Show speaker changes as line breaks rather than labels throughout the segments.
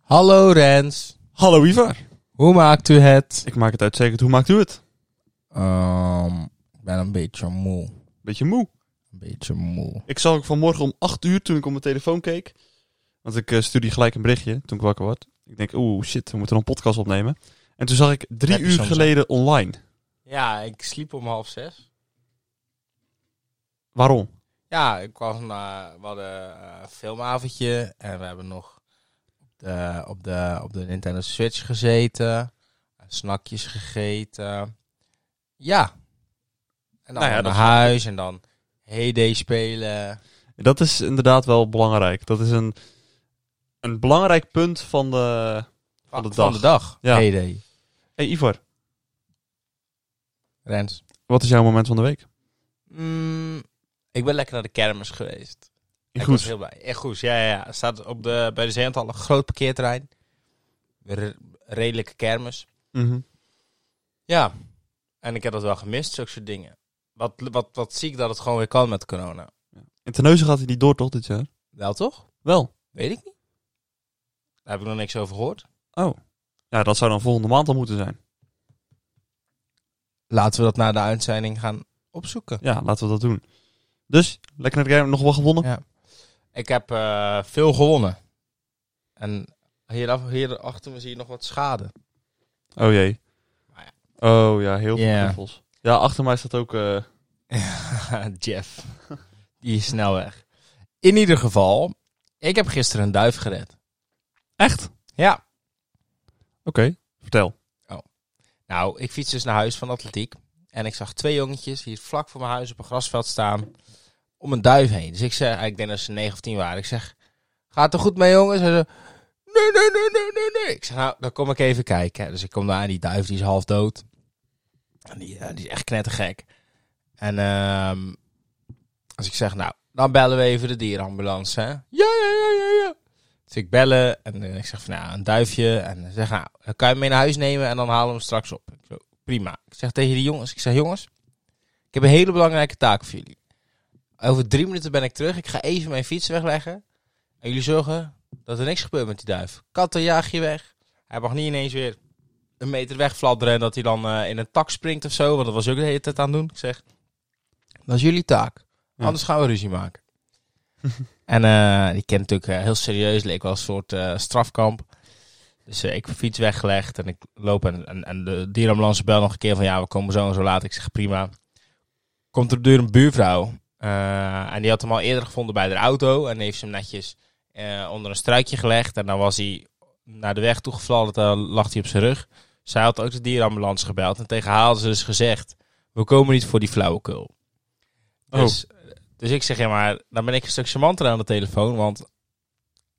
Hallo Rens,
Hallo Ivar.
hoe maakt u het?
Ik maak het uitstekend. Hoe maakt u het?
Ehm, ik ben een beetje moe.
Beetje moe.
Een beetje moe.
Ik zag ook vanmorgen om 8 uur toen ik op mijn telefoon keek. Want ik eh, stuurde je gelijk een berichtje toen ik wakker werd. Ik denk, oeh shit, we moeten nog een podcast opnemen. En toen zag ik drie
Heb je
uur
soms, hè?
geleden online.
Ja, ik sliep om half zes.
Waarom?
Ja, ik was naar, we hadden eh, een filmavondje en we hebben nog op de, op de, op de Nintendo Switch gezeten. Snakjes gegeten. Ja. En dan
Nou ja, dat
naar
is-
huis en dan Heyday spelen.
Dat is inderdaad wel belangrijk. Dat is een, een belangrijk punt van de... Van de dag. Ja.
Heyday.
hey, Ivar,
Rens.
wat is jouw moment van de week?
Mm, ik ben lekker naar de kermis geweest.
In
ik
Goes.
was heel blij. In Goes, ja, ja. ja. Er staat op de, bij de Zeehandel een groot parkeerterrein. Re- redelijke kermis.
Mhm.
Ja. En ik heb dat wel gemist, zulke soort dingen. Wat, wat, wat zie ik dat het gewoon weer kan met corona.
In Terneuzen gaat hij niet door toch dit jaar?
Wel toch?
Wel.
Weet ik niet. Daar heb ik nog niks over gehoord.
Oh. Ja, dat zou dan volgende maand al moeten zijn.
Laten we dat na de uitzending gaan opzoeken.
Ja, laten we dat doen. Dus, lekker naar de game. Nog wel gewonnen?
Ja. Ik heb eh, veel gewonnen. En hieraf, hierachter me zie je nog wat schade.
Oh jee.
Maar
Oh ja, heel veel
Ja.
knuffels. Ja, achter mij staat ook... eh,
Jeff. Die is snel weg. In ieder geval, ik heb gisteren een duif gered.
Echt? Oké,
Ja.
vertel.
Nou, ik fiets dus naar huis van atletiek. En ik zag twee jongetjes hier vlak voor mijn huis op een grasveld staan. Om een duif heen. Dus ik zeg, ik denk dat ze negen of tien waren. Ik zeg, gaat er goed mee jongens? Hij zo, nee, nee, nee, nee, nee, nee. Ik zeg, nou, dan kom ik even kijken. Dus ik kom daar en die duif die is half dood. En die, eh, die is echt knettergek. En ehm als ik zeg, nou, dan bellen we even de dierenambulance. Hè? Ja, ja, ja, ja, ja. Dus ik bellen en eh, ik zeg van, nou, een duifje. En ze zeggen, nou, dan kan je hem mee naar huis nemen en dan halen we hem straks op. Ik zo, prima. Ik zeg tegen die jongens, ik zeg, jongens, ik heb een hele belangrijke taak voor jullie. Over drie minuten ben ik terug. Ik ga even mijn fiets wegleggen. En jullie zorgen dat er niks gebeurt met die duif. Katten jaag je weg. Hij mag niet ineens weer een meter wegfladderen en dat hij dan eh, in een tak springt of zo. Want dat was ik ook de hele tijd aan het doen. Ik zeg, dat is jullie taak.
Ja.
Anders gaan we ruzie maken. en eh, die kent natuurlijk eh, heel serieus, leek wel een soort eh, strafkamp. Dus eh, ik heb fiets weggelegd en ik loop en, en, en de dierenambulance bel nog een keer van ja, we komen zo en zo laat. Ik zeg prima. Komt er op de deur een buurvrouw. eh, en die had hem al eerder gevonden bij de auto en heeft ze hem netjes eh, onder een struikje gelegd. En dan was hij naar de weg toegefladderd en lag hij op zijn rug. Zij had ook de dierenambulance gebeld. En tegen haar hadden ze dus gezegd, we komen niet voor die flauwekul. Dus, dus ik zeg, ja maar, dan ben ik een stuk charmanter aan de telefoon. Want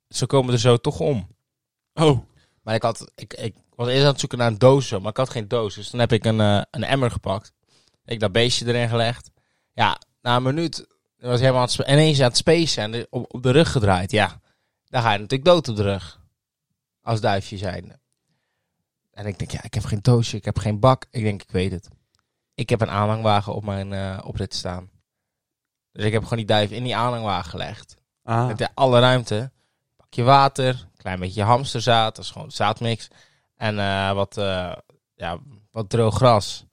ze komen er zo toch om.
Oh.
Maar ik, had, ik, ik was eerst aan het zoeken naar een doos, zo, maar ik had geen doos. Dus dan heb ik een, eh, een emmer gepakt. Ik dat beestje erin gelegd. Ja, na een minuut was hij helemaal aan het, spe- ineens aan het spacen en de- op, op de rug gedraaid. Ja, dan ga je natuurlijk dood op de rug. Als duifje zijnde. En ik denk, ja, ik heb geen doosje, ik heb geen bak. Ik denk, ik weet het. Ik heb een aanhangwagen op mijn eh oprit staan. Dus ik heb gewoon die duif in die aanhangwagen gelegd.
Ah.
Met de- alle ruimte. Pak je water, klein beetje hamsterzaad, dat is gewoon zaadmix. En eh, wat, eh, ja, wat droog gras.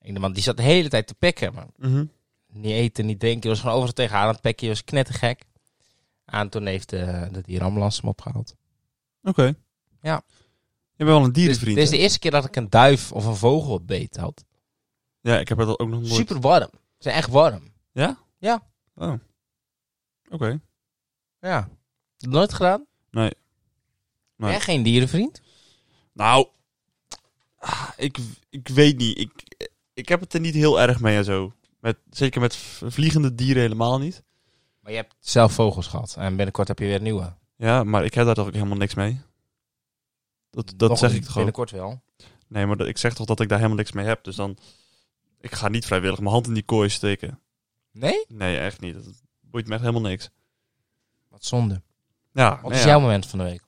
Ik denk, want die zat de hele tijd te pikken. Maar
Mhm.
niet eten, niet drinken. Die was gewoon overal tegen haar aan het pikken. Die was knettergek. Ah, En toen heeft eh, de, de dierenambulance hem opgehaald.
Oké.
Ja. Dus-
Je bent wel een
Dit
dierenvriend.
dit is de eerste keer dat ik een duif of een vogel op beet had.
hè? Ja, ik heb dat ook nog nooit...
Super warm. Ze zijn echt warm.
Oh. Oké.
Ja. Nooit gedaan?
Nee. Nee.
Ben jij geen dierenvriend?
Nou, ah, ik, ik weet niet. Ik, ik heb het er niet heel erg mee en zo. Met, zeker met v- vliegende dieren helemaal niet.
Maar je hebt zelf vogels gehad. En binnenkort heb je weer nieuwe.
Ja, maar ik heb daar toch ook helemaal niks mee. Dat, dat
Nog
zeg
een-
ik toch ook.
Binnenkort wel.
Nee, maar dat- ik zeg toch dat ik daar helemaal niks mee heb. Dus dan... Ik ga niet vrijwillig mijn hand in die kooi steken.
Nee?
Nee, echt niet. Dat boeit me echt helemaal niks.
Wat zonde.
Ja,
Wat
nou
is
ja.
jouw moment van de week?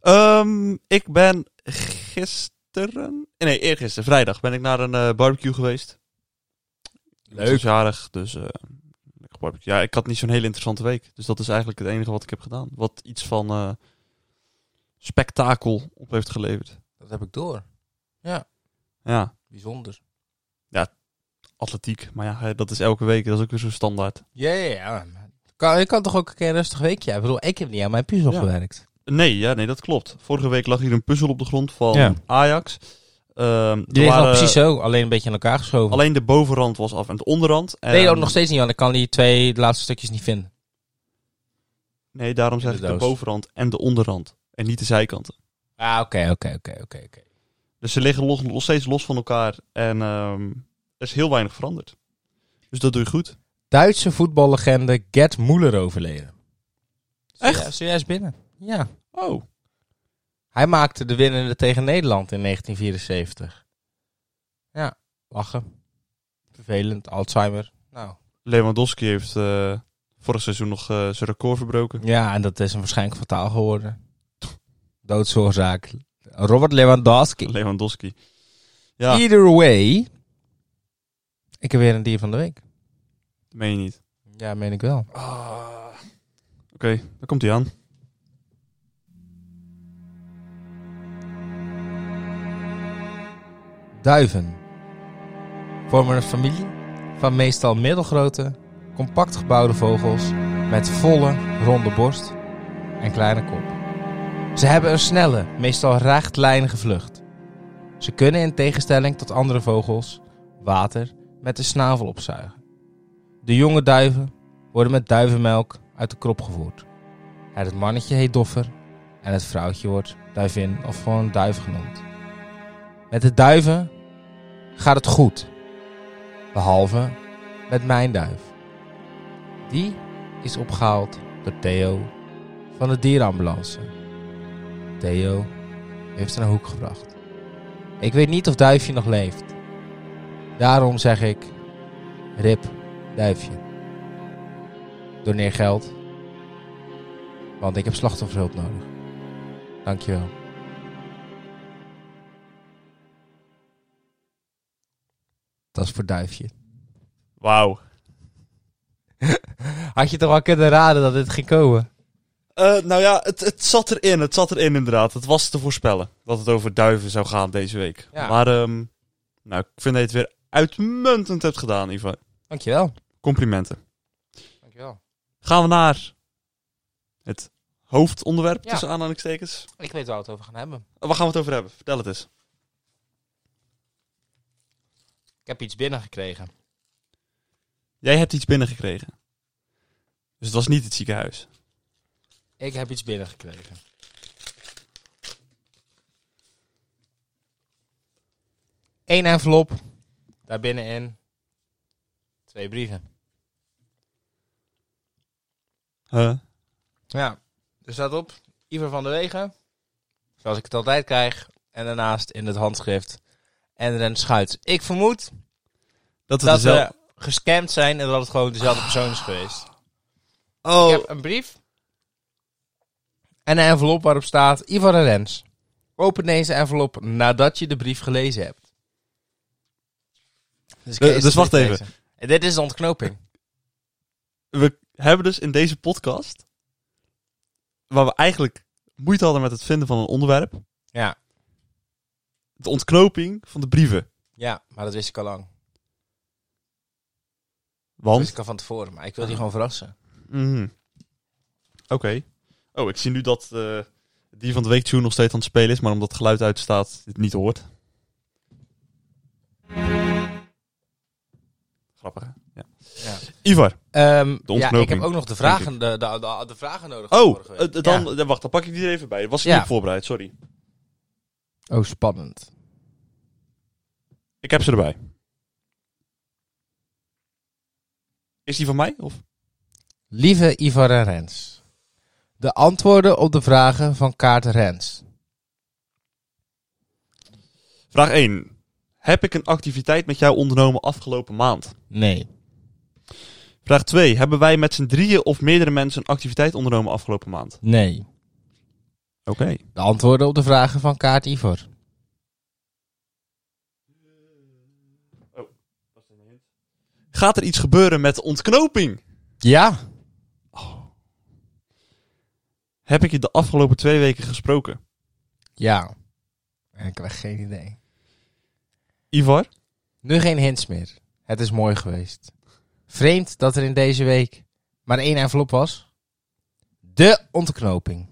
Ehm, ik ben gisteren... Nee, eergisteren, vrijdag, ben ik naar een eh, barbecue geweest. Ik was jarig, dus eh, lekker barbecue. Ja, ik had niet zo'n hele interessante week. Dus dat is eigenlijk het enige wat ik heb gedaan. Wat iets van eh, spektakel op heeft geleverd.
Dat heb ik door.
Ja,
Bijzonder.
atletiek. Maar ja, hè, dat is elke week. Dat is ook weer zo standaard.
Ja, ja, ja. maar Kan, je kan toch ook een keer een rustig weekje hebben? Ik bedoel, ik heb niet aan mijn puzzel
Ja.
gewerkt.
Nee, ja, nee, dat klopt. Vorige week lag hier een puzzel op de grond van
Ja.
Ajax. Ehm, er
Die ligt nog
waren-
precies zo, alleen een beetje aan elkaar geschoven.
Alleen de bovenrand was af en de onderrand. En,
Nee, ook nog steeds niet, want ik kan die twee laatste stukjes niet vinden.
Nee, daarom zeg
de
ik de
doos.
bovenrand en de onderrand. En niet de zijkanten.
Ah, oké, oké, oké, oké, oké.
Dus ze liggen los, nog steeds los van elkaar. En ehm, er is heel weinig veranderd. Dus dat doe je goed.
Duitse voetballegende Gerd Muller overleden.
Echt?
Zojuist- Zojuist binnen. Ja.
Oh,
Hij maakte de winnende tegen Nederland in 1974. Ja, lachen. Vervelend, Alzheimer. Nou.
Lewandowski heeft eh, vorig seizoen nog eh, zijn record verbroken.
Ja, en dat is hem waarschijnlijk fataal geworden. Doodsoorzaak. Robert Lewandowski.
Lewandowski. Ja,
Either way. Ik heb weer een dier van de week.
dat meen je niet.
Ja, meen ik wel.
Oké, daar komt hij aan.
Duiven vormen een familie van meestal middelgrote, compact gebouwde vogels met volle, ronde borst en kleine kop. Ze hebben een snelle, meestal rechtlijnige vlucht. Ze kunnen in tegenstelling tot andere vogels water met de snavel opzuigen. De jonge duiven worden met duivenmelk uit de krop gevoerd. Het mannetje heet doffer en het vrouwtje wordt duivin of gewoon duif genoemd. Met de duiven gaat het goed. Behalve met mijn duif. Die is opgehaald door Theo van de dierenambulance. Theo heeft ze naar Hoek gebracht. Ik weet niet of Duifje nog leeft. Daarom zeg ik... Rip, Duifje. Doneer geld. Want ik heb slachtofferhulp nodig. Dankjewel. Dat is voor Duifje.
Wauw.
Had je toch wel kunnen raden dat dit ging komen?
Eh, nou ja, het, het zat erin. Het zat erin inderdaad. Het was te voorspellen dat het over duiven zou gaan deze week.
Ja.
Maar ehm, nou, ik vind dat je het weer uitmuntend hebt gedaan, Ivan.
Dankjewel.
Complimenten.
Dankjewel.
Gaan we naar het hoofdonderwerp
Ja.
tussen aanhalingstekens.
Ik weet waar we het over gaan hebben.
Eh, Waar gaan we het over hebben? Vertel het eens.
Ik heb iets binnengekregen.
Jij hebt iets binnengekregen. Dus het was niet het ziekenhuis.
Ik heb iets binnengekregen. Eén envelop. Daar binnenin twee brieven.
Huh?
Ja. Er staat op Iver van der Wegen. Zoals ik het altijd krijg. En daarnaast in het handschrift. En Ren Schuit. Ik vermoed
Dat
dat
is
ze
wel.
gescamd zijn en dat het gewoon dezelfde persoon is geweest.
Oh,
Ik heb een brief. En een envelop waarop staat Ivan en Rens. Open deze envelop nadat je de brief gelezen hebt. Dus, ik
Eh,
lees
dus
de brief
wacht even.
lezen. En Eh, dit is de ontknoping.
we hebben dus in deze podcast, waar we eigenlijk moeite hadden met het vinden van een onderwerp,
Ja.
de ontknoping van de brieven.
Ja, maar dat wist ik al lang. Dat wist
Want.
ik al van tevoren, maar ik wil die gewoon verrassen.
Mhm. Oké. Oh, ik zie nu dat eh, die van de week tune nog steeds aan het spelen is, maar omdat het geluid uitstaat, het niet hoort. Grappig, hè? Ja.
Ja.
Ivar.
Ehm,
De
ja, ik
ontknoping,
heb ook nog de vragen, de, de, de, de vragen nodig. van
Oh,
vorige
eh,
week.
dan, eh, wacht, dan pak ik die er even bij. Was ik
Ja.
niet voorbereid, sorry.
Ja. Oh, spannend.
Ik heb ze erbij. Is die van mij? Of?
Lieve Ivar en Rens. De antwoorden op de vragen van kaart Rens.
Vraag 1. Heb ik een activiteit met jou ondernomen afgelopen maand?
Nee.
Vraag 2. Hebben wij met z'n drieën of meerdere mensen een activiteit ondernomen afgelopen maand?
Nee.
Oké.
De antwoorden op de vragen van Kaart Ivor.
Gaat er iets gebeuren met de ontknoping?
Ja.
Heb ik je de afgelopen twee weken gesproken?
Ja. Ik heb echt geen idee.
Ivar?
Nu geen hints meer. Het is mooi geweest. Vreemd dat er in deze week maar één envelop was. De ontknoping.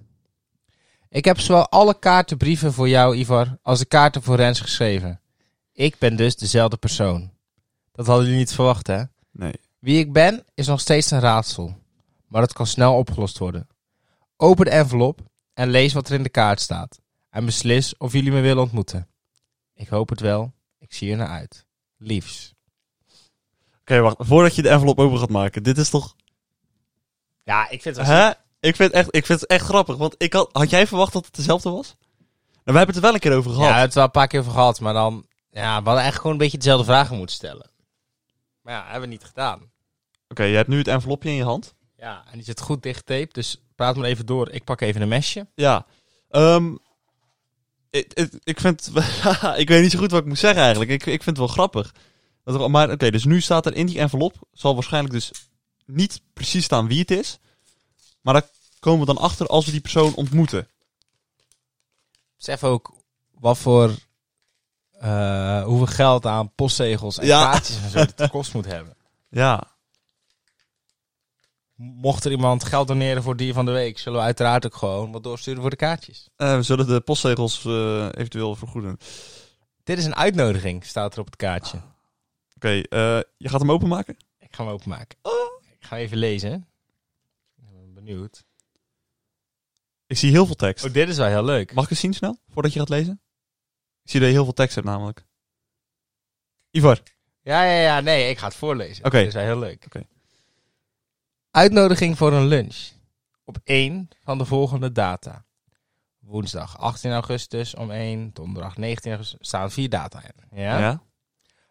Ik heb zowel alle kaartenbrieven voor jou, Ivar, als de kaarten voor Rens geschreven. Ik ben dus dezelfde persoon. Dat hadden jullie niet verwacht, hè?
Nee.
Wie ik ben is nog steeds een raadsel, maar dat kan snel opgelost worden. Open de envelop en lees wat er in de kaart staat en beslis of jullie me willen ontmoeten. Ik hoop het wel, ik zie er naar uit. Liefs.
Oké, wacht. Voordat je de envelop open gaat maken. Dit is toch...
Ja, ik vind
Hè? Ik vind, echt, ik vind het echt grappig. Want ik had, had jij verwacht dat het dezelfde was? Nou, we hebben het er wel een keer over
Ja, we
gehad.
hebben het wel een paar keer over gehad, maar dan... Ja, we hadden eigenlijk gewoon een beetje dezelfde vragen moeten stellen. Maar ja, hebben we niet gedaan.
Oké, je hebt nu het envelopje in je hand.
Ja, en die zit goed dicht tape, dus praat maar even door. Ik pak even een mesje.
Ja. Ehm, ik, ik, ik vind... ik weet niet zo goed wat ik moet zeggen eigenlijk. Ik, ik vind het wel grappig. Dat er- maar oké, dus nu staat er in die envelop... Zal waarschijnlijk dus niet precies staan wie het is. Maar daar komen we dan achter als we die persoon ontmoeten.
Besef ook wat voor... eh, hoeveel geld aan postzegels en
Ja.
kaartjes en zo het kost moet hebben.
Ja.
Mocht er iemand geld doneren voor dier van de week, zullen we uiteraard ook gewoon wat doorsturen voor de kaartjes.
Eh, we zullen de postzegels eh, eventueel vergoeden. Oké,
Dit is een uitnodiging, staat er op het kaartje.
eh, je gaat hem openmaken?
Ik ga hem openmaken.
Oh.
Ik ga even lezen. Ik ben benieuwd.
Ik zie heel veel tekst.
Oh, dit is wel heel leuk.
Mag ik eens zien snel, voordat je gaat lezen? Ik zie dat je heel veel tekst hebt namelijk. Ivar,
Ja, ja, ja. Nee, ik ga het voorlezen.
Oké.
Dit is wel heel leuk.
Oké.
Uitnodiging voor een lunch. Op één van de volgende data. Woensdag 18 augustus om 1, donderdag 19 augustus. staan vier data in. Ja?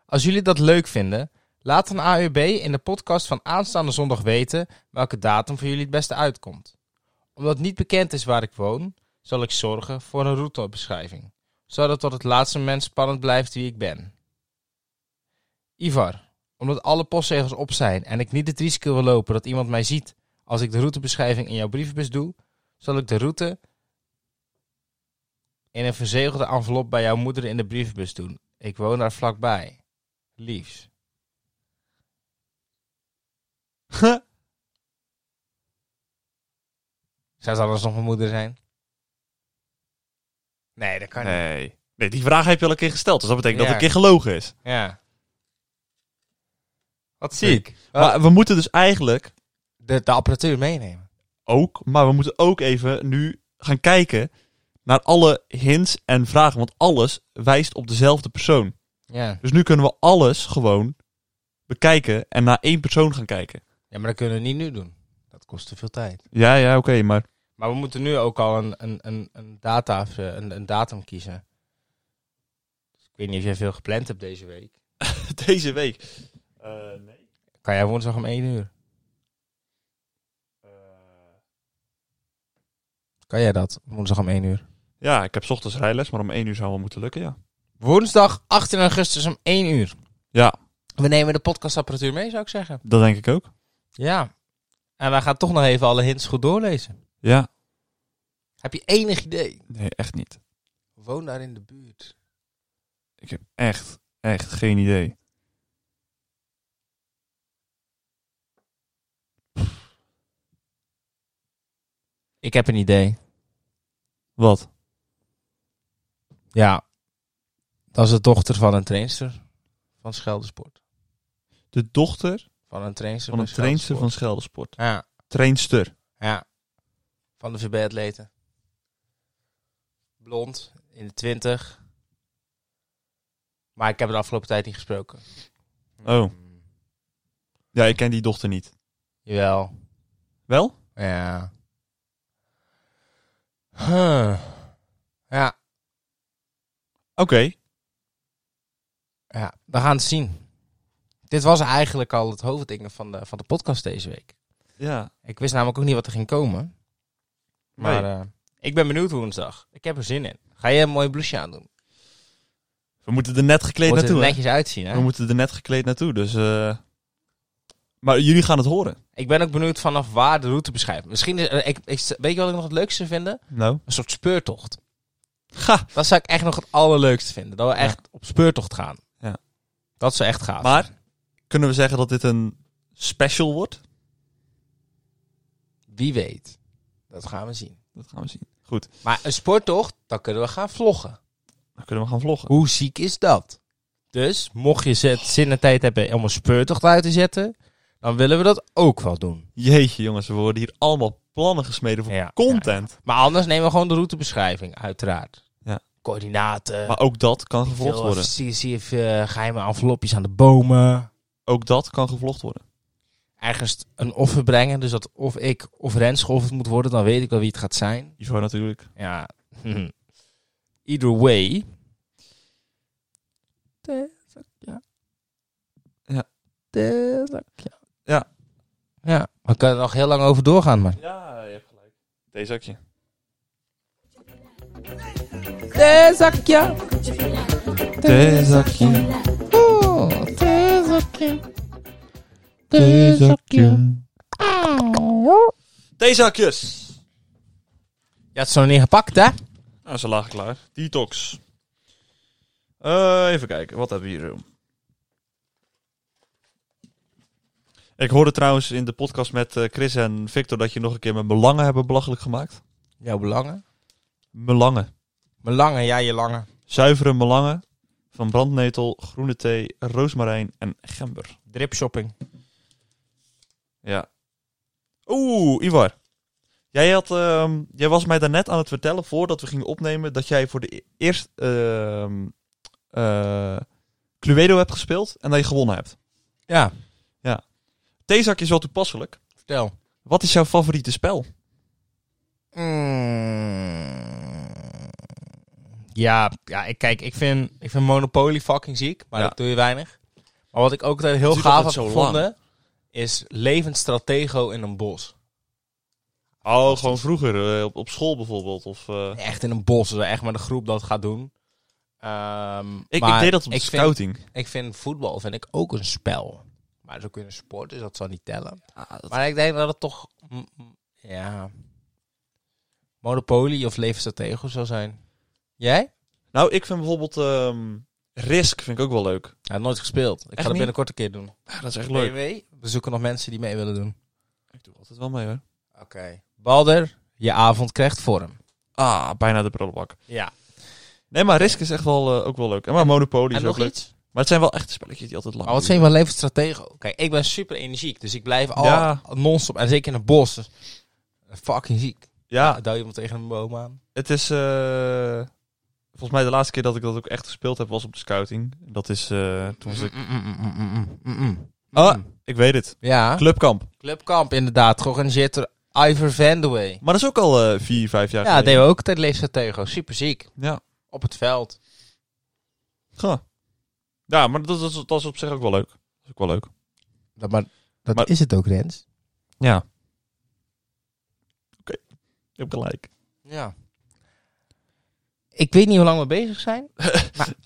Als jullie dat leuk vinden, laat een AUB in de podcast van aanstaande zondag weten welke datum voor jullie het beste uitkomt. Omdat niet bekend is waar ik woon, zal ik zorgen voor een routebeschrijving, zodat tot het laatste moment spannend blijft wie ik ben. Ivar, omdat alle postzegels op zijn en ik niet het risico wil lopen dat iemand mij ziet als ik de routebeschrijving in jouw brievenbus doe, zal ik de route in een verzegelde envelop bij jouw moeder in de brievenbus doen. Ik woon daar vlakbij. Liefs. Zou het anders nog mijn moeder zijn? Nee, dat kan niet.
Nee. Nee, die vraag heb je al een keer gesteld, dus dat betekent
Ja.
dat het een keer gelogen is.
Ja. Wat
Nee.
ziek.
Maar we moeten dus eigenlijk
De, de apparatuur meenemen.
ook, maar we moeten ook even nu gaan kijken naar alle hints en vragen, want alles wijst op dezelfde persoon.
Ja.
Dus nu kunnen we alles gewoon bekijken en naar één persoon gaan kijken.
ja, maar dat kunnen we niet nu doen. Dat kost te veel tijd.
Ja, ja, oké, maar...
Maar we moeten nu ook al een, een, een, een, data, een, een datum kiezen. Dus ik weet niet of jij veel gepland hebt deze week.
Deze week. Eh, nee.
Kan jij woensdag om 1 uur? Eh. Kan jij dat? Woensdag om 1 uur.
Ja, ik heb 's ochtends rijles, maar om één uur zou wel moeten lukken, ja.
Woensdag 18 augustus om 1 uur.
Ja,
We nemen de podcastapparatuur mee, zou ik zeggen.
dat denk ik ook.
Ja. En wij gaan toch nog even alle hints goed doorlezen.
Ja.
Heb je enig idee?
Nee, echt niet.
Woon daar in de buurt.
Ik heb echt, echt geen idee.
Ik heb een idee.
Wat?
Ja. Dat is de dochter van een trainster van Scheldersport.
De dochter
Van een trainster
van een trainster van Scheldesport.
Ja,
Trainster.
ja. Van de VB-atleten. Blond, in de twintig. Maar ik heb haar de afgelopen tijd niet gesproken.
Oh.
Mm,
Ja, ik ken die dochter niet.
jawel.
Wel?
Ja. Huh. Ja,
Oké.
ja, we gaan het zien. Dit was eigenlijk al het hoofdding van de, van de podcast deze week.
Ja.
Ik wist namelijk ook niet wat er ging komen. Maar
Maar
eh, ik ben benieuwd woensdag. Ik heb er zin in. Ga je een mooi bloesje aandoen?
we moeten er net gekleed
Moet er
naartoe. hè?
netjes uitzien, hè?
We moeten er net gekleed naartoe, dus... eh, Maar jullie gaan het horen.
Ik ben ook benieuwd vanaf waar de route beschrijft. Misschien is, eh, ik, ik- weet je wat ik nog het leukste vind? Een
Nou.
soort speurtocht.
Ga.
Dat zou ik echt nog het allerleukste vinden. Dat we echt op speurtocht gaan.
Ja.
Dat zou echt gaaf.
Maar kunnen we zeggen dat dit een special wordt?
Wie weet. Dat gaan we zien.
Dat gaan we zien. Goed.
Maar een sporttocht, dan kunnen we gaan vloggen.
Dan kunnen we gaan vloggen.
Hoe ziek is dat? Dus, mocht je zet, zin en tijd hebben om een speurtocht uit te zetten, dan willen we dat ook wel doen.
Jeetje jongens, we worden hier allemaal plannen gesmeden voor
Ja.
content.
Maar anders nemen we gewoon de routebeschrijving, uiteraard.
Ja.
Coördinaten.
Maar ook dat kan gevlogd
veel,
worden.
Zie, zie je eh, geheime envelopjes aan de bomen.
Ook dat kan gevlogd worden.
Ergens een offer brengen, dus dat of ik of Rens geofferd moet worden, dan weet ik wel wie het gaat zijn.
Ivo natuurlijk.
Ja. Either way. Ja.
Ja.
Ja. Ja. We kunnen er nog heel lang over doorgaan, maar.
Ja, je hebt gelijk. Deze zakje.
Theezakje.
Deze zakje.
Oeh, theezakje. Theezakje.
Deze zakjes.
Je had ze nog niet gepakt, hè?
Nou, ze lagen klaar. Detox. Eh, even kijken, wat hebben we hier? Ik hoorde trouwens in de podcast met eh, Chris en Victor dat je nog een keer mijn belangen hebben belachelijk gemaakt.
Jouw belangen.
Melangen.
Mijn lange, ja, je lange.
Zuivere melangen van brandnetel, groene thee, roosmarijn en gember.
Drip shopping.
Ja. Oeh, Ivar. Jij, had, ehm, jij was mij daarnet aan het vertellen, voordat we gingen opnemen, dat jij voor de e- eerst ehm, eh, Cluedo hebt gespeeld en dat je gewonnen hebt.
Ja,
Theezak is wel toepasselijk.
vertel.
Wat is jouw favoriete spel?
Mm. Ja, ja ik, kijk, ik vind, ik vind Monopoly fucking ziek, maar
Ja.
dat doe je weinig. Maar wat ik ook altijd heel
Het duurt
gaaf heb
altijd zo lang.
gevonden, is levend stratego in een bos.
Oh, gewoon vroeger, eh, op, op school bijvoorbeeld. Of, eh,
Echt in een bos, dus echt met een groep dat gaat doen. Ehm,
ik, ik
maar
deed dat op de
ik vind,
scouting.
ik vind voetbal vind ik ook een spel. Maar dat is ook weer een sport, dus dat zal niet tellen.
Ah,
Maar ik denk dat het toch... mm, mm, ja... Monopoly of levend stratego zou zijn. Jij?
Nou, ik vind bijvoorbeeld ehm, Risk vind ik ook wel leuk.
Ja, nooit gespeeld. Ik
Echt
ga dat
niet?
binnenkort een keer doen.
Ja, dat is echt
BW, we zoeken nog mensen die mee willen doen.
Ik doe altijd wel mee hoor.
Oké. Balder, je avond krijgt vorm.
Ah, bijna de prullenbak.
Ja.
Nee, maar Risk is echt wel, eh, ook wel leuk. En maar Monopoly is
En
ook
nog
leuk.
iets?
Maar het zijn wel echte spelletjes die altijd lang
Maar wat vind je van levensstratego? Kijk, ik ben super energiek, dus ik blijf al
Ja.
non-stop. En zeker in het bos. dus fucking ziek. Ah,
Ja,
Duw iemand tegen een boom aan.
het is... eh, volgens mij de laatste keer dat ik dat ook echt gespeeld heb was op de scouting. Dat is eh, toen was ik...
Mm, mm, mm, mm, mm, mm, mm.
Ah,
Mm.
ik weet het.
Ja,
Clubkamp.
Clubkamp inderdaad, georganiseerd door Ivor Vandewey.
Maar dat is ook al eh, vier, vijf jaar
Ja, dat deden we ook tijdens levensstratego. Super ziek.
Ja.
Op het veld.
Huh. Ja, maar dat, dat, dat is op zich ook wel leuk. Dat is ook wel leuk.
Dat, maar dat
Maar-
is het ook, Rens.
Ja. Oké. Je hebt gelijk.
Ja. Ik weet niet hoe lang we bezig zijn.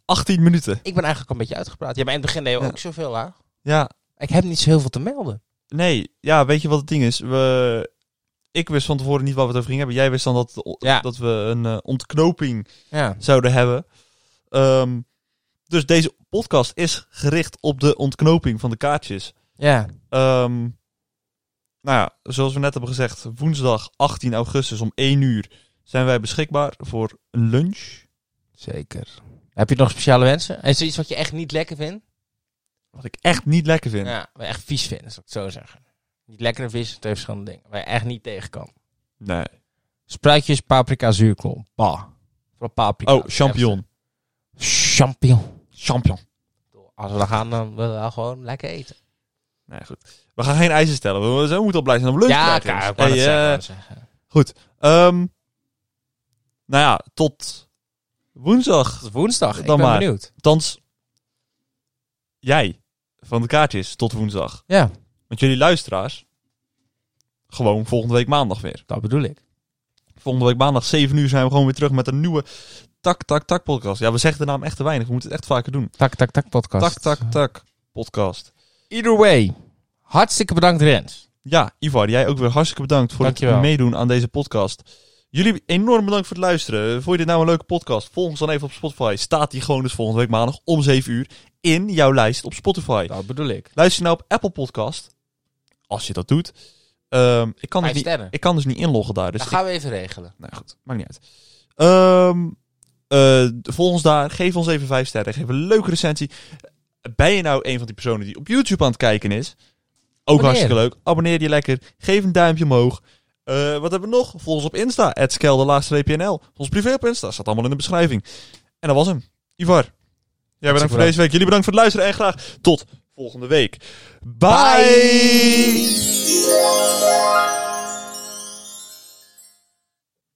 18 minuten.
Ik ben eigenlijk al een beetje uitgepraat. Ja, maar in het begin deden we
Ja.
ook zoveel aan.
Ja.
Ik heb niet zo heel veel te melden.
Nee. Ja, weet je wat het ding is? We... Ik wist van tevoren niet waar we het over gingen hebben. Jij wist dan dat,
Ja.
dat we een eh, ontknoping
Ja.
zouden hebben. Ehm, dus deze podcast is gericht op de ontknoping van de kaartjes.
Ja.
Ehm, nou ja, zoals we net hebben gezegd, woensdag 18 augustus om 1 uur zijn wij beschikbaar voor een lunch.
Zeker. Heb je nog speciale wensen? Is er iets wat je echt niet lekker vindt?
Wat ik echt niet lekker vind.
Ja, wat je echt vies vindt, zou ik het zo zeggen. Niet lekker en vies, twee verschillende dingen. Waar je echt niet tegen kan.
Nee.
Spruitjes, paprika, zuurkool. Bah. Vooral paprika.
Oh, champignon.
Champignon.
Champignon.
Als we dan gaan, dan willen we wel gewoon lekker eten.
Nee, goed. We gaan geen eisen stellen. We zo moeten al blij zijn dat we lunch
ja,
krijgen,
kijk,
jongens.
ik wou net
Hey,
zeggen, ik
eh,
wou net zeggen.
ehm, nou ja, tot woensdag.
Tot woensdag. Ik
Dan
ben
maar.
benieuwd.
Althans, jij van de kaartjes tot woensdag.
Ja,
Want jullie luisteraars, gewoon volgende week maandag weer.
dat bedoel ik.
Volgende week maandag 7 uur zijn we gewoon weer terug met een nieuwe Tak Tak Tak podcast. Ja, we zeggen de naam echt te weinig. We moeten het echt vaker doen.
Tak, tak, tak, podcast.
Tak Tak Tak podcast.
Either way, Hartstikke bedankt Rens.
Ja, Ivar, jij ook weer hartstikke bedankt voor
Dankjewel.
het meedoen aan deze podcast. Jullie enorm bedankt voor het luisteren. Vond je dit nou een leuke podcast? Volg ons dan even op Spotify. Staat die gewoon dus volgende week maandag om 7 uur in jouw lijst op Spotify.
Dat bedoel ik.
Luister je nou op Apple Podcast, als je dat doet. Ehm, ik, kan dus
Vijf
niet,
sterren.
ik kan dus niet inloggen daar. Dus
Dat gaan we even regelen.
nou goed, maakt niet uit. Ehm eh, volg ons daar. Geef ons even vijf sterren. Geef een leuke recensie. Ben je nou een van die personen die op YouTube aan het kijken is? Ook
Abonneer.
hartstikke leuk. Abonneer je lekker. Geef een duimpje omhoog. Eh, wat hebben we nog? Volg ons op Insta. Het Ons privé op Insta. Staat allemaal in de beschrijving. En dat was hem. Ivar. Jij bedankt voor
bedankt.
deze week. Jullie bedankt voor het luisteren. En graag tot volgende week. Bye.